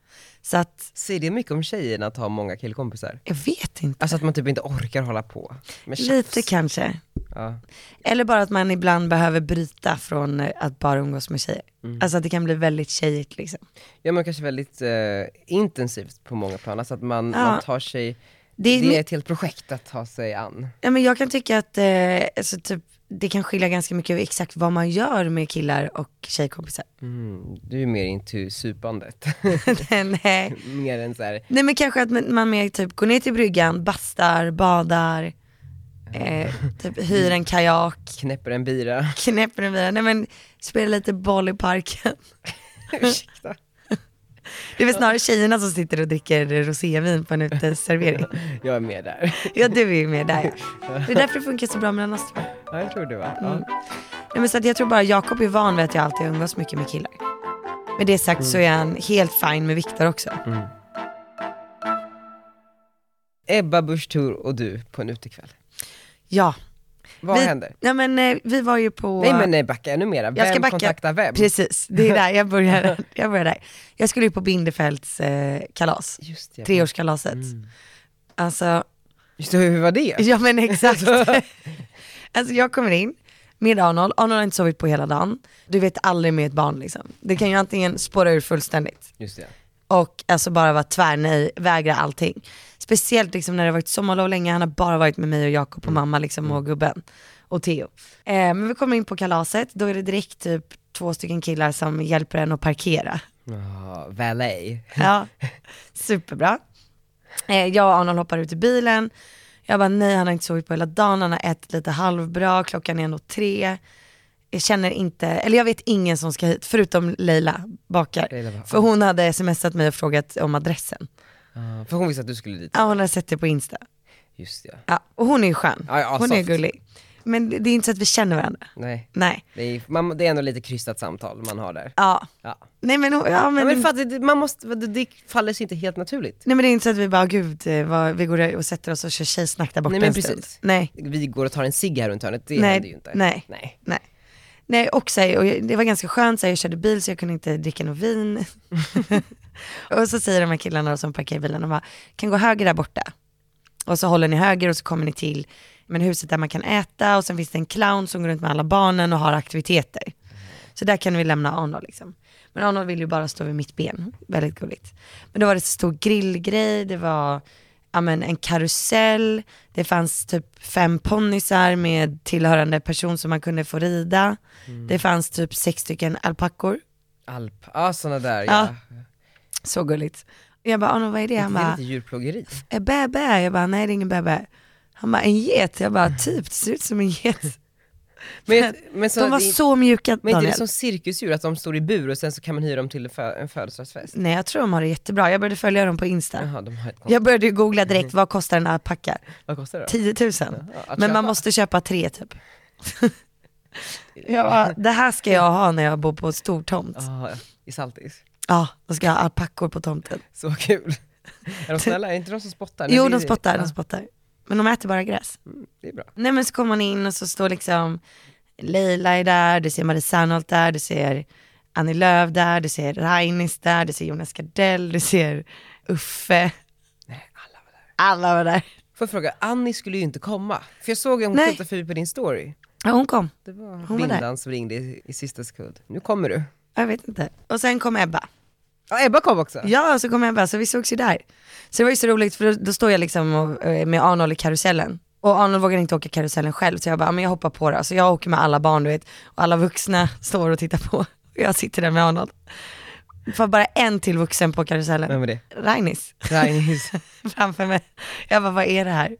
Speaker 2: Så att,
Speaker 1: Säger det mycket om tjejen att ha många killkompisar?
Speaker 2: jag vet inte.
Speaker 1: Alltså att man typ inte orkar hålla på med tjafs.
Speaker 2: Lite kanske.
Speaker 1: Ja.
Speaker 2: Eller bara att man ibland behöver bryta från eh, att bara umgås med tjejer.
Speaker 1: Mm.
Speaker 2: Alltså att det kan bli väldigt tjejigt liksom.
Speaker 1: Ja men kanske väldigt eh, intensivt på många plan, alltså att man,
Speaker 2: Ja.
Speaker 1: man tar sig,
Speaker 2: Det
Speaker 1: det
Speaker 2: är
Speaker 1: är,
Speaker 2: mi-
Speaker 1: ett helt projekt att ta sig an.
Speaker 2: Ja, men jag kan tycka att eh, alltså, typ, det kan skilja ganska mycket exakt vad man gör med killar och tjejkompisar.
Speaker 1: Mm, du är mer into supandet, Mm.
Speaker 2: Nej.
Speaker 1: mer än så här,
Speaker 2: Nej men kanske att man man mer typ går ner till bryggan, bastar, badar, eh, typ hyr en kajak,
Speaker 1: knäpper en bira.
Speaker 2: knäpper en bira, nej men spelar lite boll i parken.
Speaker 1: Ursäkta.
Speaker 2: Det är väl snarare tjejerna som sitter och dricker rosévin på en uteservering.
Speaker 1: Jag är med där.
Speaker 2: Ja du är ju med där ja. Det är därför det funkar så bra mellan oss två.
Speaker 1: Ja, jag tror det va? Ja.
Speaker 2: Mm. Nej men så att jag tror bara Jakob är van vid att jag alltid umgås mycket med killar. Med det sagt så är
Speaker 1: Mm.
Speaker 2: han helt fin med Viktor också.
Speaker 1: Ebba Busch Thor och du på en utekväll.
Speaker 2: Ja.
Speaker 1: Vad
Speaker 2: vi,
Speaker 1: händer?
Speaker 2: Nej men eh, vi var ju på...
Speaker 1: Nej men nej, backa ännu mera. Vem
Speaker 2: Jag ska backa.
Speaker 1: kontaktar vem?
Speaker 2: Precis, det är där jag börjar. Jag, börjar där. jag skulle ju på Bindefelds eh, kalas,
Speaker 1: Just det.
Speaker 2: treårskalaset.
Speaker 1: Mm.
Speaker 2: Alltså,
Speaker 1: Just det, hur var det?
Speaker 2: ja men exakt. alltså jag kommer in med Arnold, Arnold har inte sovit på hela dagen. Du vet aldrig med ett barn liksom. Det kan ju antingen spåra ur fullständigt
Speaker 1: Just det.
Speaker 2: och alltså bara vara tvärnej, vägra allting. Speciellt liksom när det har varit sommarlov länge, han har bara varit med mig och Jakob och mamma liksom och gubben och Theo. Eh, men vi kommer in på kalaset, då är det direkt typ två stycken killar som hjälper en att parkera.
Speaker 1: Ja, valet.
Speaker 2: Ja, superbra. Eh, jag och Arnold hoppar ut i bilen. Jag bara nej, han har inte sovit på hela dagen, han har ätit lite halvbra, klockan är ändå tre. jag känner inte, eller jag vet ingen som ska hit, förutom Leila Bakar.
Speaker 1: Leila Bakar.
Speaker 2: För hon hade smsat mig och frågat om adressen.
Speaker 1: Ah, för hon visste att du skulle dit.
Speaker 2: Ja, hon hade sett det på Insta.
Speaker 1: Just det, ja.
Speaker 2: Ja, och hon är ju skön.
Speaker 1: Ja, ja,
Speaker 2: hon är
Speaker 1: soft.
Speaker 2: gullig. Men det det är inte så att vi känner varandra.
Speaker 1: Nej.
Speaker 2: Nej.
Speaker 1: Det är, man, det är ändå lite krystat samtal man har där.
Speaker 2: Ja.
Speaker 1: Ja.
Speaker 2: Nej men, hon- ja,
Speaker 1: Ja,
Speaker 2: men,
Speaker 1: men fattar, det, man måste, det, det faller sig inte helt naturligt.
Speaker 2: nej men det är inte så att vi bara, gud, eh, vad, vi går och sätter oss och kör tjejsnack där borta
Speaker 1: Nej, men
Speaker 2: en stund.
Speaker 1: precis.
Speaker 2: Nej.
Speaker 1: Vi går och tar en cigg här runt hörnet, det
Speaker 2: Nej,
Speaker 1: händer ju inte.
Speaker 2: nej.
Speaker 1: nej.
Speaker 2: Nej. Nej och, så här, och jag, det var ganska skönt, så här, jag körde bil så jag kunde inte dricka något vin. och så säger de här killarna då som parkerar bilen, de bara, kan gå höger där borta. Och så håller ni höger och så kommer ni till men huset där man kan äta och sen finns det en clown som går runt med alla barnen och har aktiviteter. Så där kan vi lämna Arnold liksom. Men Arnold vill ju bara stå vid mitt ben, väldigt gulligt. Men då var det så stor grillgrej, det var ja, men, en karusell, det fanns typ fem ponnysar med tillhörande person som man kunde få rida.
Speaker 1: Mm.
Speaker 2: Det fanns typ sex stycken alpackor,
Speaker 1: Alp, ja såna där
Speaker 2: Ja.
Speaker 1: ja.
Speaker 2: så gulligt. Jag bara, Arnold vad är det? Han
Speaker 1: Det är
Speaker 2: bara,
Speaker 1: lite djurplågeri.
Speaker 2: en bäbä? Jag bara, nej det är ingen bäbä. Han bara, en get? Jag bara, typ det ser ut som en get.
Speaker 1: Men, men, så,
Speaker 2: De var
Speaker 1: det,
Speaker 2: så mjuka
Speaker 1: men inte det
Speaker 2: Daniel.
Speaker 1: är som cirkusdjur, att de står i bur och sen så kan man hyra dem till en, fö, en födelsedagsfest?
Speaker 2: Nej jag tror de har det jättebra, jag började följa dem på Insta.
Speaker 1: Jaha, de har ett konto.
Speaker 2: Jag började ju googla direkt, vad kostar en alpacka?
Speaker 1: Vad kostar det då?
Speaker 2: 10 000.
Speaker 1: Mm. att
Speaker 2: Men
Speaker 1: köpa.
Speaker 2: man måste köpa tre typ. jag bara, det här ska jag ha när jag bor på stor tomt.
Speaker 1: Ja, I Saltis.
Speaker 2: Ja, då ska jag ha alpackor på tomten.
Speaker 1: Så kul. Är de snälla? Är inte de som spottar? Nej,
Speaker 2: Jo
Speaker 1: det-
Speaker 2: de spottar,
Speaker 1: Ja,
Speaker 2: de spottar. Men de äter bara gräs.
Speaker 1: Det är bra.
Speaker 2: Nej men så kommer man in och så står liksom Leila är där, du ser Marie Serneholt där, du ser Annie Lööf där, du ser Rainis där, du ser Jonas Gardell, du ser Uffe. alla var där. Alla var där.
Speaker 1: Får jag fråga, Annie skulle ju inte komma. För jag såg hon
Speaker 2: Nej.
Speaker 1: skjuta förbi på din story.
Speaker 2: Ja, hon kom.
Speaker 1: Det var
Speaker 2: var där.
Speaker 1: Vindan som ringde i, i sista sekund. Nu kommer du.
Speaker 2: Jag vet inte. Och sen kom Ebba.
Speaker 1: Ja, Ebba kom också.
Speaker 2: Ja, så alltså, kom jag bara, så vi sågs ju där. Så det var ju så roligt för då, då står jag liksom och, eh, med Arnold i karusellen. Och Arnold vågar inte åka karusellen själv så jag bara, "Ja, men jag hoppar på det. Så jag åker med alla barn du vet, och alla vuxna står och tittar på. Och jag sitter där med Arnold. Det var bara en till vuxen på karusellen.
Speaker 1: Vem var det?
Speaker 2: Rainis
Speaker 1: Rainis.
Speaker 2: framför mig. Jag bara, vad är det här?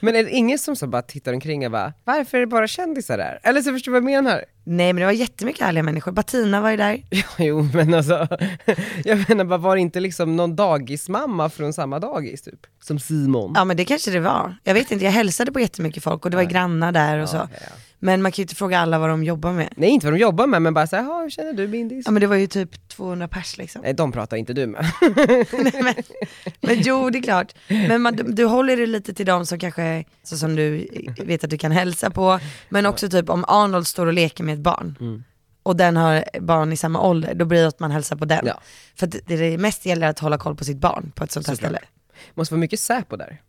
Speaker 1: Men är det ingen som så bara tittar omkring och bara, varför är det bara kändisar där? Eller så förstår du vad jag menar?
Speaker 2: Nej men det var jättemycket härliga människor. Batina var ju där.
Speaker 1: Ja, jo men alltså, jag menar bara var det inte liksom någon dagismamma från samma dagis typ? Som Simon?
Speaker 2: Ja men det kanske det var. Jag vet inte, jag hälsade på jättemycket folk och det var grannar där och så.
Speaker 1: ja, ja.
Speaker 2: Men man kan ju inte fråga alla vad de jobbar med.
Speaker 1: Nej inte vad de jobbar med, men bara såhär, "Ja, hur känner du Bindis?
Speaker 2: Ja men det var ju typ 200 pers liksom.
Speaker 1: Nej de pratar inte du med.
Speaker 2: Nej, men, men jo, det är klart. Men man, du håller dig lite till dem som kanske, så som du vet att du kan hälsa på, men också typ om Arnold står och leker med ett barn
Speaker 1: Mm.
Speaker 2: och den har barn i samma ålder, då blir det att man hälsar på den.
Speaker 1: Ja.
Speaker 2: För att det, det mest gäller att hålla koll på sitt barn på ett sånt här
Speaker 1: Såklart.
Speaker 2: ställe.
Speaker 1: Måste vara mycket Säpo där.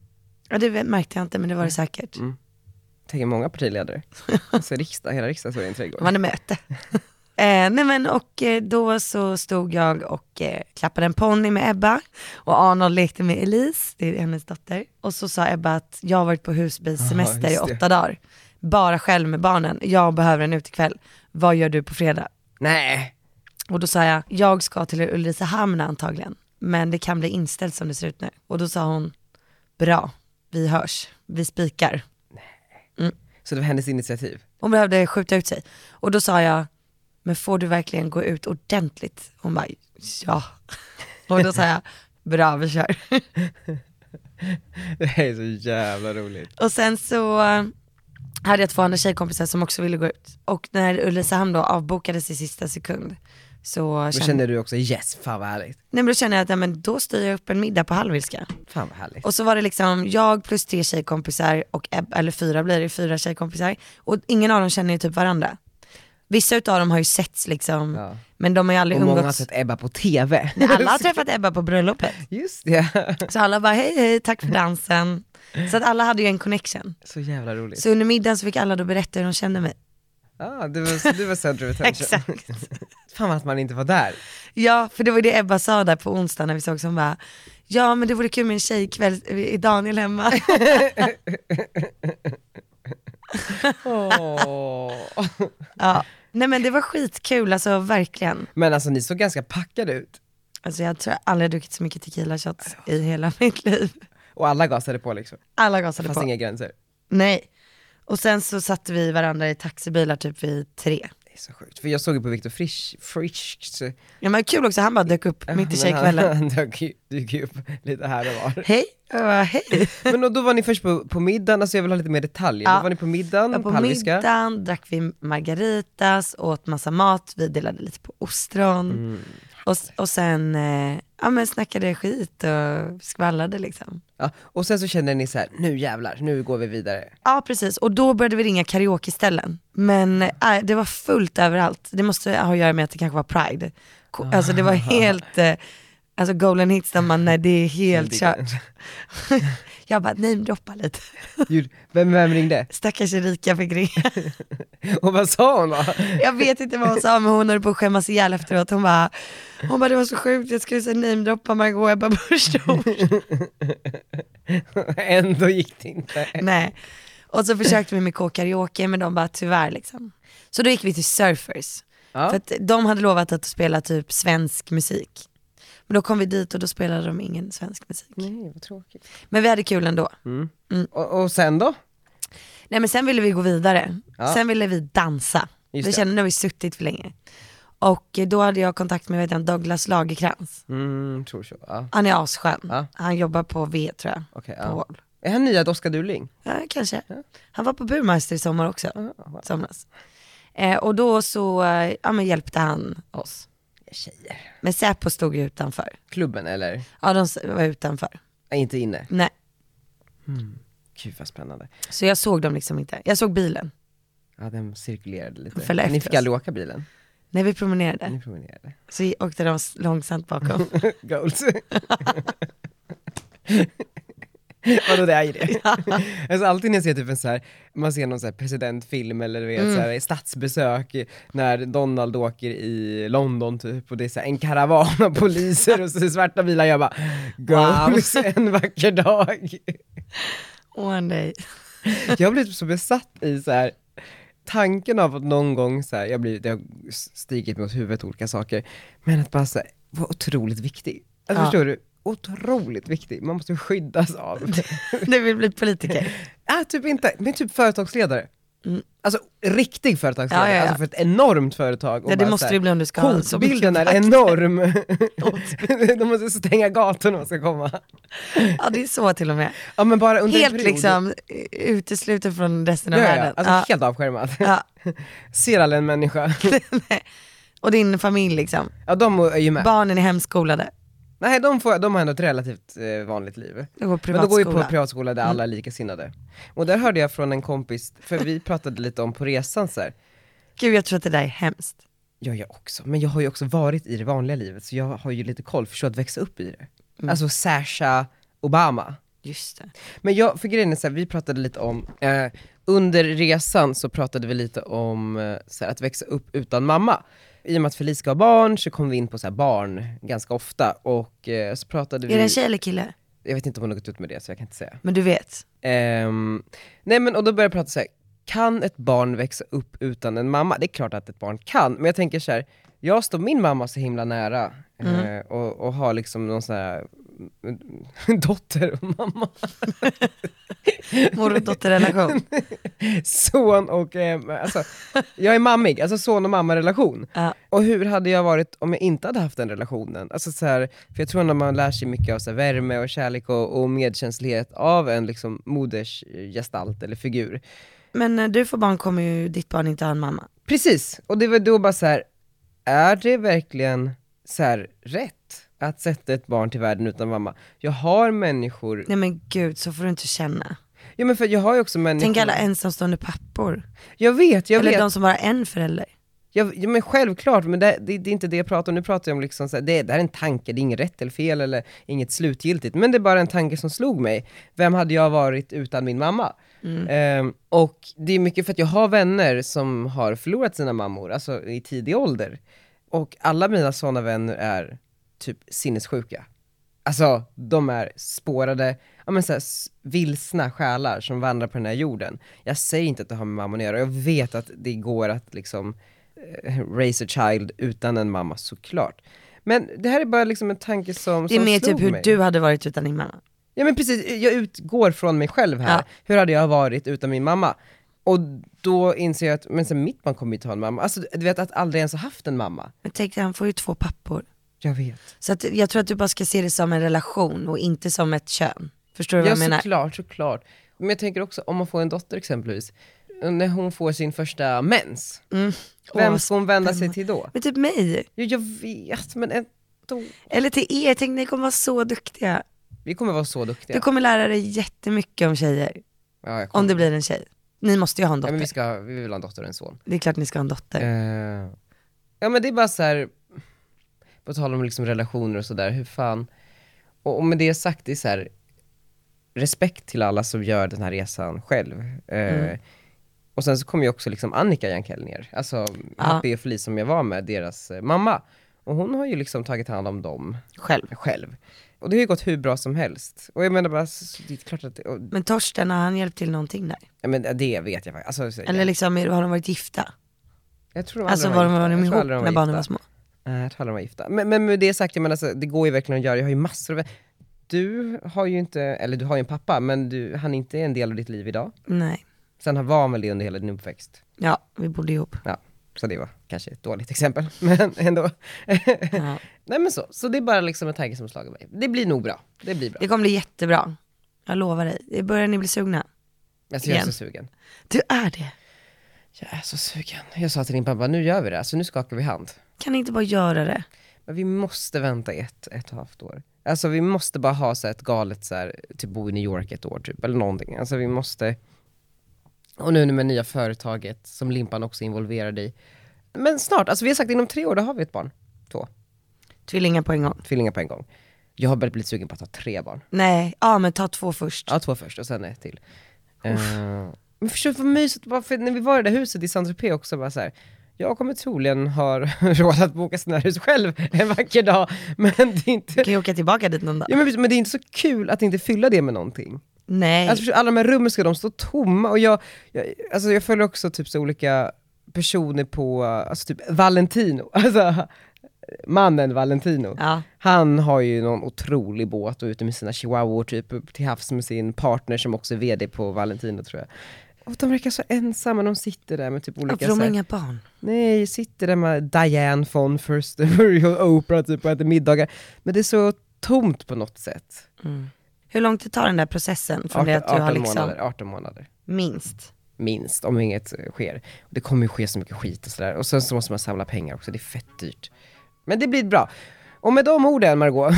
Speaker 2: Ja det vet- märkte jag inte men det var det säkert.
Speaker 1: Tänker många partiledare. Alltså riksdag, hela riksdagen står i en
Speaker 2: Det
Speaker 1: trädgård.
Speaker 2: var ett möte. Eh, nej men och eh, då så stod jag och eh, klappade en ponny med Ebba och Arnold lekte med Elise, det är hennes dotter. Och så sa Ebba att jag har varit på husbilsemester
Speaker 1: Aha,
Speaker 2: i
Speaker 1: just det.
Speaker 2: åtta dagar, bara själv med barnen, jag behöver en utekväll, vad gör du på fredag?
Speaker 1: Nej,
Speaker 2: Och då sa jag, jag ska till Ulricehamn antagligen, men det kan bli inställt som det ser ut nu. Och då sa hon, bra, vi hörs, vi spikar.
Speaker 1: så det var hennes initiativ.
Speaker 2: Hon behövde skjuta ut sig. Och då sa jag, men får du verkligen gå ut ordentligt? Hon bara, ja. Och då sa jag, bra vi kör.
Speaker 1: Det här är så jävla roligt.
Speaker 2: Och sen så eh, hade jag två andra tjejkompisar som också ville gå ut. Och när Ulricehamn då avbokades i sista sekund så
Speaker 1: Då
Speaker 2: kände,
Speaker 1: känner du också yes, fan vad härligt.
Speaker 2: Nej, men då kände jag att ja, men då styr jag upp en middag på Hallwylska.
Speaker 1: Fan vad härligt.
Speaker 2: Och så var det liksom jag plus tre tjejkompisar, och, Eb- eller fyra blir det, fyra tjejkompisar. Och ingen av dem känner ju typ varandra. Vissa utav dem har ju setts liksom,
Speaker 1: Ja.
Speaker 2: men de har ju aldrig
Speaker 1: Och många har
Speaker 2: umgåtts.
Speaker 1: sett Ebba på TV.
Speaker 2: Alla har träffat Ebba på bröllopet.
Speaker 1: Just det.
Speaker 2: Så alla bara hej hej, tack för dansen. Så att alla hade ju en connection.
Speaker 1: Så jävla roligt.
Speaker 2: Så under middagen så fick alla då berätta hur de kände mig.
Speaker 1: Ja, du var, du var center of attention. Fan att man inte var där.
Speaker 2: Ja, för det var det Ebba sa där på onsdag när vi såg som bara, ja men det vore kul med en tjejkväll, är Daniel hemma?
Speaker 1: Åh.
Speaker 2: Ja. Nej men det var skitkul, alltså verkligen.
Speaker 1: Men alltså ni såg ganska packade ut.
Speaker 2: Alltså jag tror jag aldrig har druckit så mycket tequila shots i hela mitt liv.
Speaker 1: Och alla gasade på liksom.
Speaker 2: Alla gasade
Speaker 1: Fanns
Speaker 2: på.
Speaker 1: inga gränser.
Speaker 2: Nej. Och sen så satte vi varandra i taxibilar typ vid tre.
Speaker 1: Det är så sjukt. För jag såg ju på Viktor Frisch, Frischs...
Speaker 2: Ja men kul också, han bara dök upp mitt i tjejkvällen.
Speaker 1: Han dök ju- dyker ju upp lite här och var.
Speaker 2: Hej, jag bara, hej.
Speaker 1: Men och då var ni först på, på middagen, alltså jag vill ha lite mer detaljer.
Speaker 2: Ja.
Speaker 1: Då var ni på middagen,
Speaker 2: Ja, Mm, på
Speaker 1: Palmiska.
Speaker 2: middagen drack vi margaritas, åt massa mat, vi delade lite på ostron. Och, och sen eh, ja, men snackade skit och skvallrade liksom.
Speaker 1: Ja. Och sen så kände ni så här: nu jävlar, nu går vi vidare.
Speaker 2: Ja precis, och då började vi ringa karaokeställen. Men eh, det var fullt överallt. Det måste ha att göra med att det kanske var pride. Ko- Alltså det var helt, eh, alltså golden hits där man, nej det är
Speaker 1: Helt
Speaker 2: helt kört. Jag bara namedroppa lite.
Speaker 1: Gud, Vem, vem ringde?
Speaker 2: Stackars Erika fick ringa.
Speaker 1: Och vad sa hon då?
Speaker 2: Jag vet inte vad hon sa men hon höll på att skämmas ihjäl efteråt. Hon bara, hon bara det var så sjukt, jag skulle säga namedroppa Margot Ebba Busch Thor."
Speaker 1: Ändå gick det inte.
Speaker 2: Nej. Och så försökte vi med K-karaoke men de bara tyvärr liksom. Så då gick vi till Surfers.
Speaker 1: Ja.
Speaker 2: För att de hade lovat att spela typ svensk musik. Men då kom vi dit och då spelade de ingen svensk musik.
Speaker 1: Nej, Mm. vad tråkigt.
Speaker 2: Men vi hade kul ändå.
Speaker 1: Och, och sen då?
Speaker 2: Nej men sen ville vi gå vidare.
Speaker 1: Ja.
Speaker 2: Sen ville vi dansa.
Speaker 1: Just
Speaker 2: vi
Speaker 1: det.
Speaker 2: kände nu har vi suttit för länge. Och eh, då hade jag kontakt med vad heter han, Douglas Lagerkrans.
Speaker 1: Mm, tror så. Ja.
Speaker 2: Han är asskön.
Speaker 1: Ja.
Speaker 2: Han jobbar på V tror jag.
Speaker 1: Okej,
Speaker 2: På
Speaker 1: ja.
Speaker 2: Wall.
Speaker 1: Är han nya Doska Duling?
Speaker 2: Ja, kanske. Han var på Burmeister i sommar också.
Speaker 1: wow.
Speaker 2: Somras. Eh, och då så eh, ja, men hjälpte han oss.
Speaker 1: Tjejer.
Speaker 2: Men Säpo stod ju utanför.
Speaker 1: Klubben eller?
Speaker 2: Ja, de s- var utanför.
Speaker 1: Ja, inte inne.
Speaker 2: Nej,
Speaker 1: Gud vad spännande.
Speaker 2: så jag såg dem liksom inte. Jag såg bilen
Speaker 1: Ja, den cirkulerade
Speaker 2: De
Speaker 1: lite.
Speaker 2: följde
Speaker 1: Ni
Speaker 2: efter
Speaker 1: fick
Speaker 2: oss.
Speaker 1: aldrig åka bilen?
Speaker 2: när vi promenerade.
Speaker 1: Ni promenerade.
Speaker 2: Så vi åkte de s- långsamt bakom.
Speaker 1: Goals. Vadå det är ju det. Alltså alltid när jag ser typ en så här, man ser någon så här presidentfilm eller du vet, så här, statsbesök när Donald åker i London typ och det är så här, en karavan av poliser och så är det svarta bilar, jag bara goals en vacker dag.
Speaker 2: One day.
Speaker 1: Jag har blivit så besatt i så här tanken av att någon gång så här, jag blir, det har stigit mot huvudet olika saker, men att bara så här, vara otroligt viktig. Alltså,
Speaker 2: Ja.
Speaker 1: Förstår du? Otroligt viktig, man måste skyddas av.
Speaker 2: Du vill bli politiker.
Speaker 1: ah, typ inte, men typ företagsledare. Alltså riktig företagsledare,
Speaker 2: Mm. Ja, ja, ja.
Speaker 1: alltså för ett enormt företag. och
Speaker 2: Ja, det
Speaker 1: bara
Speaker 2: måste
Speaker 1: så här,
Speaker 2: du bli om du ska ha en sån
Speaker 1: Hotbilden är
Speaker 2: kontakt.
Speaker 1: enorm. De måste stänga gatorna om man ska komma.
Speaker 2: Ja, det är så till och med.
Speaker 1: Ja, men bara under en
Speaker 2: Helt
Speaker 1: period.
Speaker 2: liksom eh, utesluten från resten
Speaker 1: Ja,
Speaker 2: av
Speaker 1: ja, ja.
Speaker 2: världen.
Speaker 1: Alltså
Speaker 2: Ja.
Speaker 1: helt avskärmad.
Speaker 2: Ja.
Speaker 1: Ser aldrig en människa.
Speaker 2: Och din familj liksom.
Speaker 1: Ja de är ju med.
Speaker 2: Barnen är hemskolade.
Speaker 1: Nej de, får, de har ändå ett relativt eh, vanligt liv.
Speaker 2: De går
Speaker 1: Men de går ju på
Speaker 2: privatskola. Mm.
Speaker 1: privatskola där alla är likasinnade. Och där hörde jag från en kompis, för vi pratade lite om på resan så här.
Speaker 2: Gud jag tror att det där är hemskt.
Speaker 1: Ja jag också, men jag har ju också varit i det vanliga livet så jag har ju lite koll, förstå att växa upp i det.
Speaker 2: Mm.
Speaker 1: Alltså Sasha Obama.
Speaker 2: Just det.
Speaker 1: Men jag, för grejen är så här, vi pratade lite om, eh, under resan så pratade vi lite om eh, så här, att växa upp utan mamma. I och med att Felicia har barn så kom vi in på så här, barn ganska ofta och eh, så pratade vi...
Speaker 2: Är det en tjej eller kille?
Speaker 1: Jag vet inte om hon har gått ut med det så jag kan inte säga.
Speaker 2: Men du vet.
Speaker 1: Ehm, nej men och då började jag prata så här. kan ett barn växa upp utan en mamma? Det är klart att ett barn kan, men jag tänker så här. jag står min mamma så himla nära eh, och, och har liksom någon sån här mm, dotter och mamma,
Speaker 2: Mor och dotterrelation.
Speaker 1: son och, eh, alltså, jag är mammig, alltså son och mamma-relation.
Speaker 2: Ja.
Speaker 1: Och hur hade jag varit om jag inte hade haft den relationen? Alltså så här, för jag tror när man lär sig mycket av så här, värme och kärlek och, och medkänslighet av en liksom, modersgestalt eller figur,
Speaker 2: Men när du får barn kommer ju ditt barn inte ha en mamma.
Speaker 1: Precis, och det var då bara så här. är det verkligen så här rätt att sätta ett barn till världen utan mamma? Jag har människor,
Speaker 2: Nej men gud, så får du inte känna.
Speaker 1: ja men för jag har ju också människor,
Speaker 2: Tänk alla ensamstående pappor.
Speaker 1: jag vet, jag
Speaker 2: eller
Speaker 1: vet,
Speaker 2: de som bara har en förälder.
Speaker 1: jag, ja, men självklart, men det, det, det är inte det jag pratar om, nu pratar jag om liksom så här, det, det här är en tanke, det är inget rätt eller fel eller inget slutgiltigt, men det är bara en tanke som slog mig. Vem hade jag varit utan min mamma? Ehm, och det är mycket för att jag har vänner som har förlorat sina mammor, alltså i tidig ålder. Och alla mina sådana vänner är typ sinnessjuka. Alltså, de är spårade, ja men så här, s- vilsna själar som vandrar på den här jorden. Jag säger inte att det har med mamman att göra, jag vet att det går att liksom eh, raise a child utan en mamma såklart. Men det här är bara liksom en tanke som,
Speaker 2: Det är
Speaker 1: som
Speaker 2: mer
Speaker 1: slog
Speaker 2: typ hur
Speaker 1: mig.
Speaker 2: du hade varit utan din mamma.
Speaker 1: Ja men precis, jag utgår från mig själv här.
Speaker 2: Ja.
Speaker 1: Hur hade jag varit utan min mamma? Och då inser jag att, men sen mitt barn kommer ju ta en mamma. Alltså du vet att aldrig ens ha haft en mamma.
Speaker 2: Men tänk dig, han får ju två pappor.
Speaker 1: Jag vet.
Speaker 2: Så att, jag tror att du bara ska se det som en relation och inte som ett kön. Förstår du vad
Speaker 1: Ja
Speaker 2: jag menar?
Speaker 1: såklart, såklart. Men jag tänker också om man får en dotter exempelvis, eh, när hon får sin första mens, vem
Speaker 2: Mm. Åh,
Speaker 1: ska hon vända sig
Speaker 2: spännande.
Speaker 1: till då?
Speaker 2: Men typ mig.
Speaker 1: Jo, jag vet men ändå.
Speaker 2: Eller till er, tänk ni kommer vara så duktiga.
Speaker 1: Vi kommer vara så duktiga.
Speaker 2: Du kommer lära dig jättemycket om tjejer.
Speaker 1: ja, jag kommer.
Speaker 2: Om det blir en tjej. Ni måste ju ha en
Speaker 1: ja,
Speaker 2: dotter.
Speaker 1: men vi, ska, vi vill ha en dotter och en son.
Speaker 2: Det är klart ni ska ha en dotter.
Speaker 1: Eh, ja men det är bara så här. på tal om liksom relationer och sådär, hur fan, och, och med det sagt, det är så här. respekt till alla som gör den här resan själv. Eh,
Speaker 2: Mm.
Speaker 1: Och sen så kom ju också liksom Annika Jankell ner, alltså Happy och Felice som jag var med, deras eh, mamma. Och hon har ju liksom tagit hand om dem
Speaker 2: Själv.
Speaker 1: själv. Och det har ju gått hur bra som helst. Och jag menar bara, så- det är klart att, och,
Speaker 2: Men Torsten, har han hjälpt till någonting där?
Speaker 1: ja, men det vet jag faktiskt. Alltså, så-
Speaker 2: Eller liksom, är- har de varit gifta?
Speaker 1: jag tror de aldrig
Speaker 2: Alltså var de, var de
Speaker 1: gifta. Jag tror
Speaker 2: ihop
Speaker 1: aldrig de
Speaker 2: när barnen
Speaker 1: gifta.
Speaker 2: var små?
Speaker 1: Nej, jag tror aldrig de var gifta. Men, men med det sagt, jag menar, alltså, det går ju verkligen att göra. Jag har ju massor av... Du har ju inte, eller du har ju en pappa, men du, han är inte en del av ditt liv idag.
Speaker 2: Nej.
Speaker 1: Sen han var han väl det under hela din uppväxt.
Speaker 2: Ja, vi bodde ihop.
Speaker 1: Ja, så det var kanske ett dåligt exempel, men ändå.
Speaker 2: Ja.
Speaker 1: Nej men så, så det är bara liksom en tanke som slagit mig. Det blir nog bra, det blir bra.
Speaker 2: Det kommer bli jättebra. Jag lovar dig. Det börjar ni bli sugna.
Speaker 1: Alltså, jag är
Speaker 2: igen.
Speaker 1: så sugen.
Speaker 2: Du är det.
Speaker 1: Jag är så sugen. Jag sa till din pappa, nu gör vi det, alltså nu skakar vi hand.
Speaker 2: Kan ni inte bara göra det?
Speaker 1: Men vi måste vänta ett, ett och ett halvt år. Alltså vi måste bara ha så här ett galet så här, typ bo i New York ett år typ, eller någonting. Alltså vi måste, och nu med nya företaget som Limpan också är involverad i. Men snart, alltså vi har sagt inom tre år, då har vi ett barn. Två,
Speaker 2: Tvillingar på en gång.
Speaker 1: tvillingar på en gång. Jag har börjat bli sugen på att ha tre barn.
Speaker 2: Nej, ja men ta två först.
Speaker 1: Ja, två först och sen ett till. Eh, men förstår du vad mysigt, bara för när vi var i det där huset i Saint-Tropez också, bara så här, jag kommer troligen ha råd att boka hus själv en vacker dag, men det är inte
Speaker 2: Du kan ju åka tillbaka dit någon dag.
Speaker 1: Ja, men, precis, men det är inte så kul att inte fylla det med någonting.
Speaker 2: Nej.
Speaker 1: Alltså, förstår du, alla de här rummen ska de stå tomma och jag, jag, alltså, jag följer också typ så olika personer på, alltså typ Valentino, alltså mannen Valentino.
Speaker 2: Ja.
Speaker 1: Han har ju någon otrolig båt och är ute med sina chihuahuor typ upp till havs med sin partner som också är VD på Valentino tror jag. Och de verkar så ensamma, de sitter där med typ
Speaker 2: Ja,
Speaker 1: olika
Speaker 2: för de
Speaker 1: så
Speaker 2: har
Speaker 1: här-
Speaker 2: inga barn.
Speaker 1: Nej, sitter där med Diane von Furstenberg och Oprah typ och äter middagar. Men det är så tomt på något sätt.
Speaker 2: Hur långt det tar den där processen från det att du
Speaker 1: 18
Speaker 2: har liksom
Speaker 1: månader, 18 månader,
Speaker 2: minst?
Speaker 1: minst, om inget eh, sker. Det kommer ju ske så mycket skit och sådär. Och sen så måste man samla pengar också, det är fett dyrt. Men det blir bra. Och med de orden Margot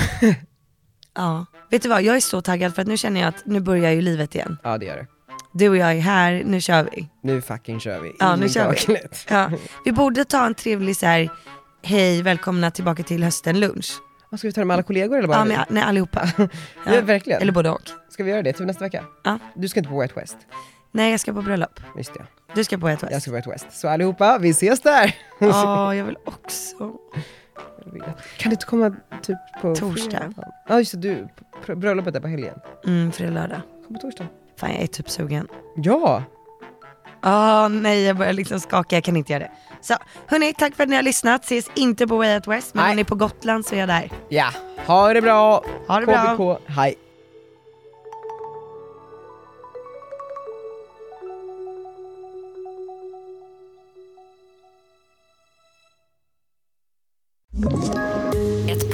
Speaker 2: Ja. Vet du vad, jag är så taggad för att nu känner jag att nu börjar ju livet igen.
Speaker 1: ja det gör det.
Speaker 2: Du och jag är här, nu kör vi.
Speaker 1: Nu fucking kör vi.
Speaker 2: Ja,
Speaker 1: In
Speaker 2: nu
Speaker 1: i
Speaker 2: kör vi.
Speaker 1: kaklet.
Speaker 2: Ja. Vi borde ta en trevlig så här, hej välkomna tillbaka till hösten lunch.
Speaker 1: Vad, Ska vi ta det med alla kollegor eller bara
Speaker 2: Ja,
Speaker 1: vi?
Speaker 2: men, nej allihopa.
Speaker 1: Ja, verkligen.
Speaker 2: Eller både och.
Speaker 1: Ska vi göra det till nästa vecka?
Speaker 2: Ja.
Speaker 1: Du ska inte på White West.
Speaker 2: Nej jag ska på bröllop.
Speaker 1: Just det,
Speaker 2: Du ska på ett
Speaker 1: jag
Speaker 2: West.
Speaker 1: ska på White West. Så allihopa, vi ses där!
Speaker 2: Ja, jag vill också.
Speaker 1: Kan du inte komma typ på
Speaker 2: Torsdag.
Speaker 1: fredag? Ja just det, du, pr- bröllopet är på helgen.
Speaker 2: Mm, fredag, lördag.
Speaker 1: Kom på torsdag.
Speaker 2: Fan jag är typ sugen.
Speaker 1: Ja!
Speaker 2: Ah nej, jag börjar liksom skaka, jag kan inte göra det. Så hörni, tack för att ni har lyssnat. Ses inte på Way Out West, men
Speaker 1: Nej.
Speaker 2: om ni är på Gotland så är jag där.
Speaker 1: Ja, ha det bra!
Speaker 2: Ha det bra.
Speaker 1: KBK, hej!
Speaker 6: Ett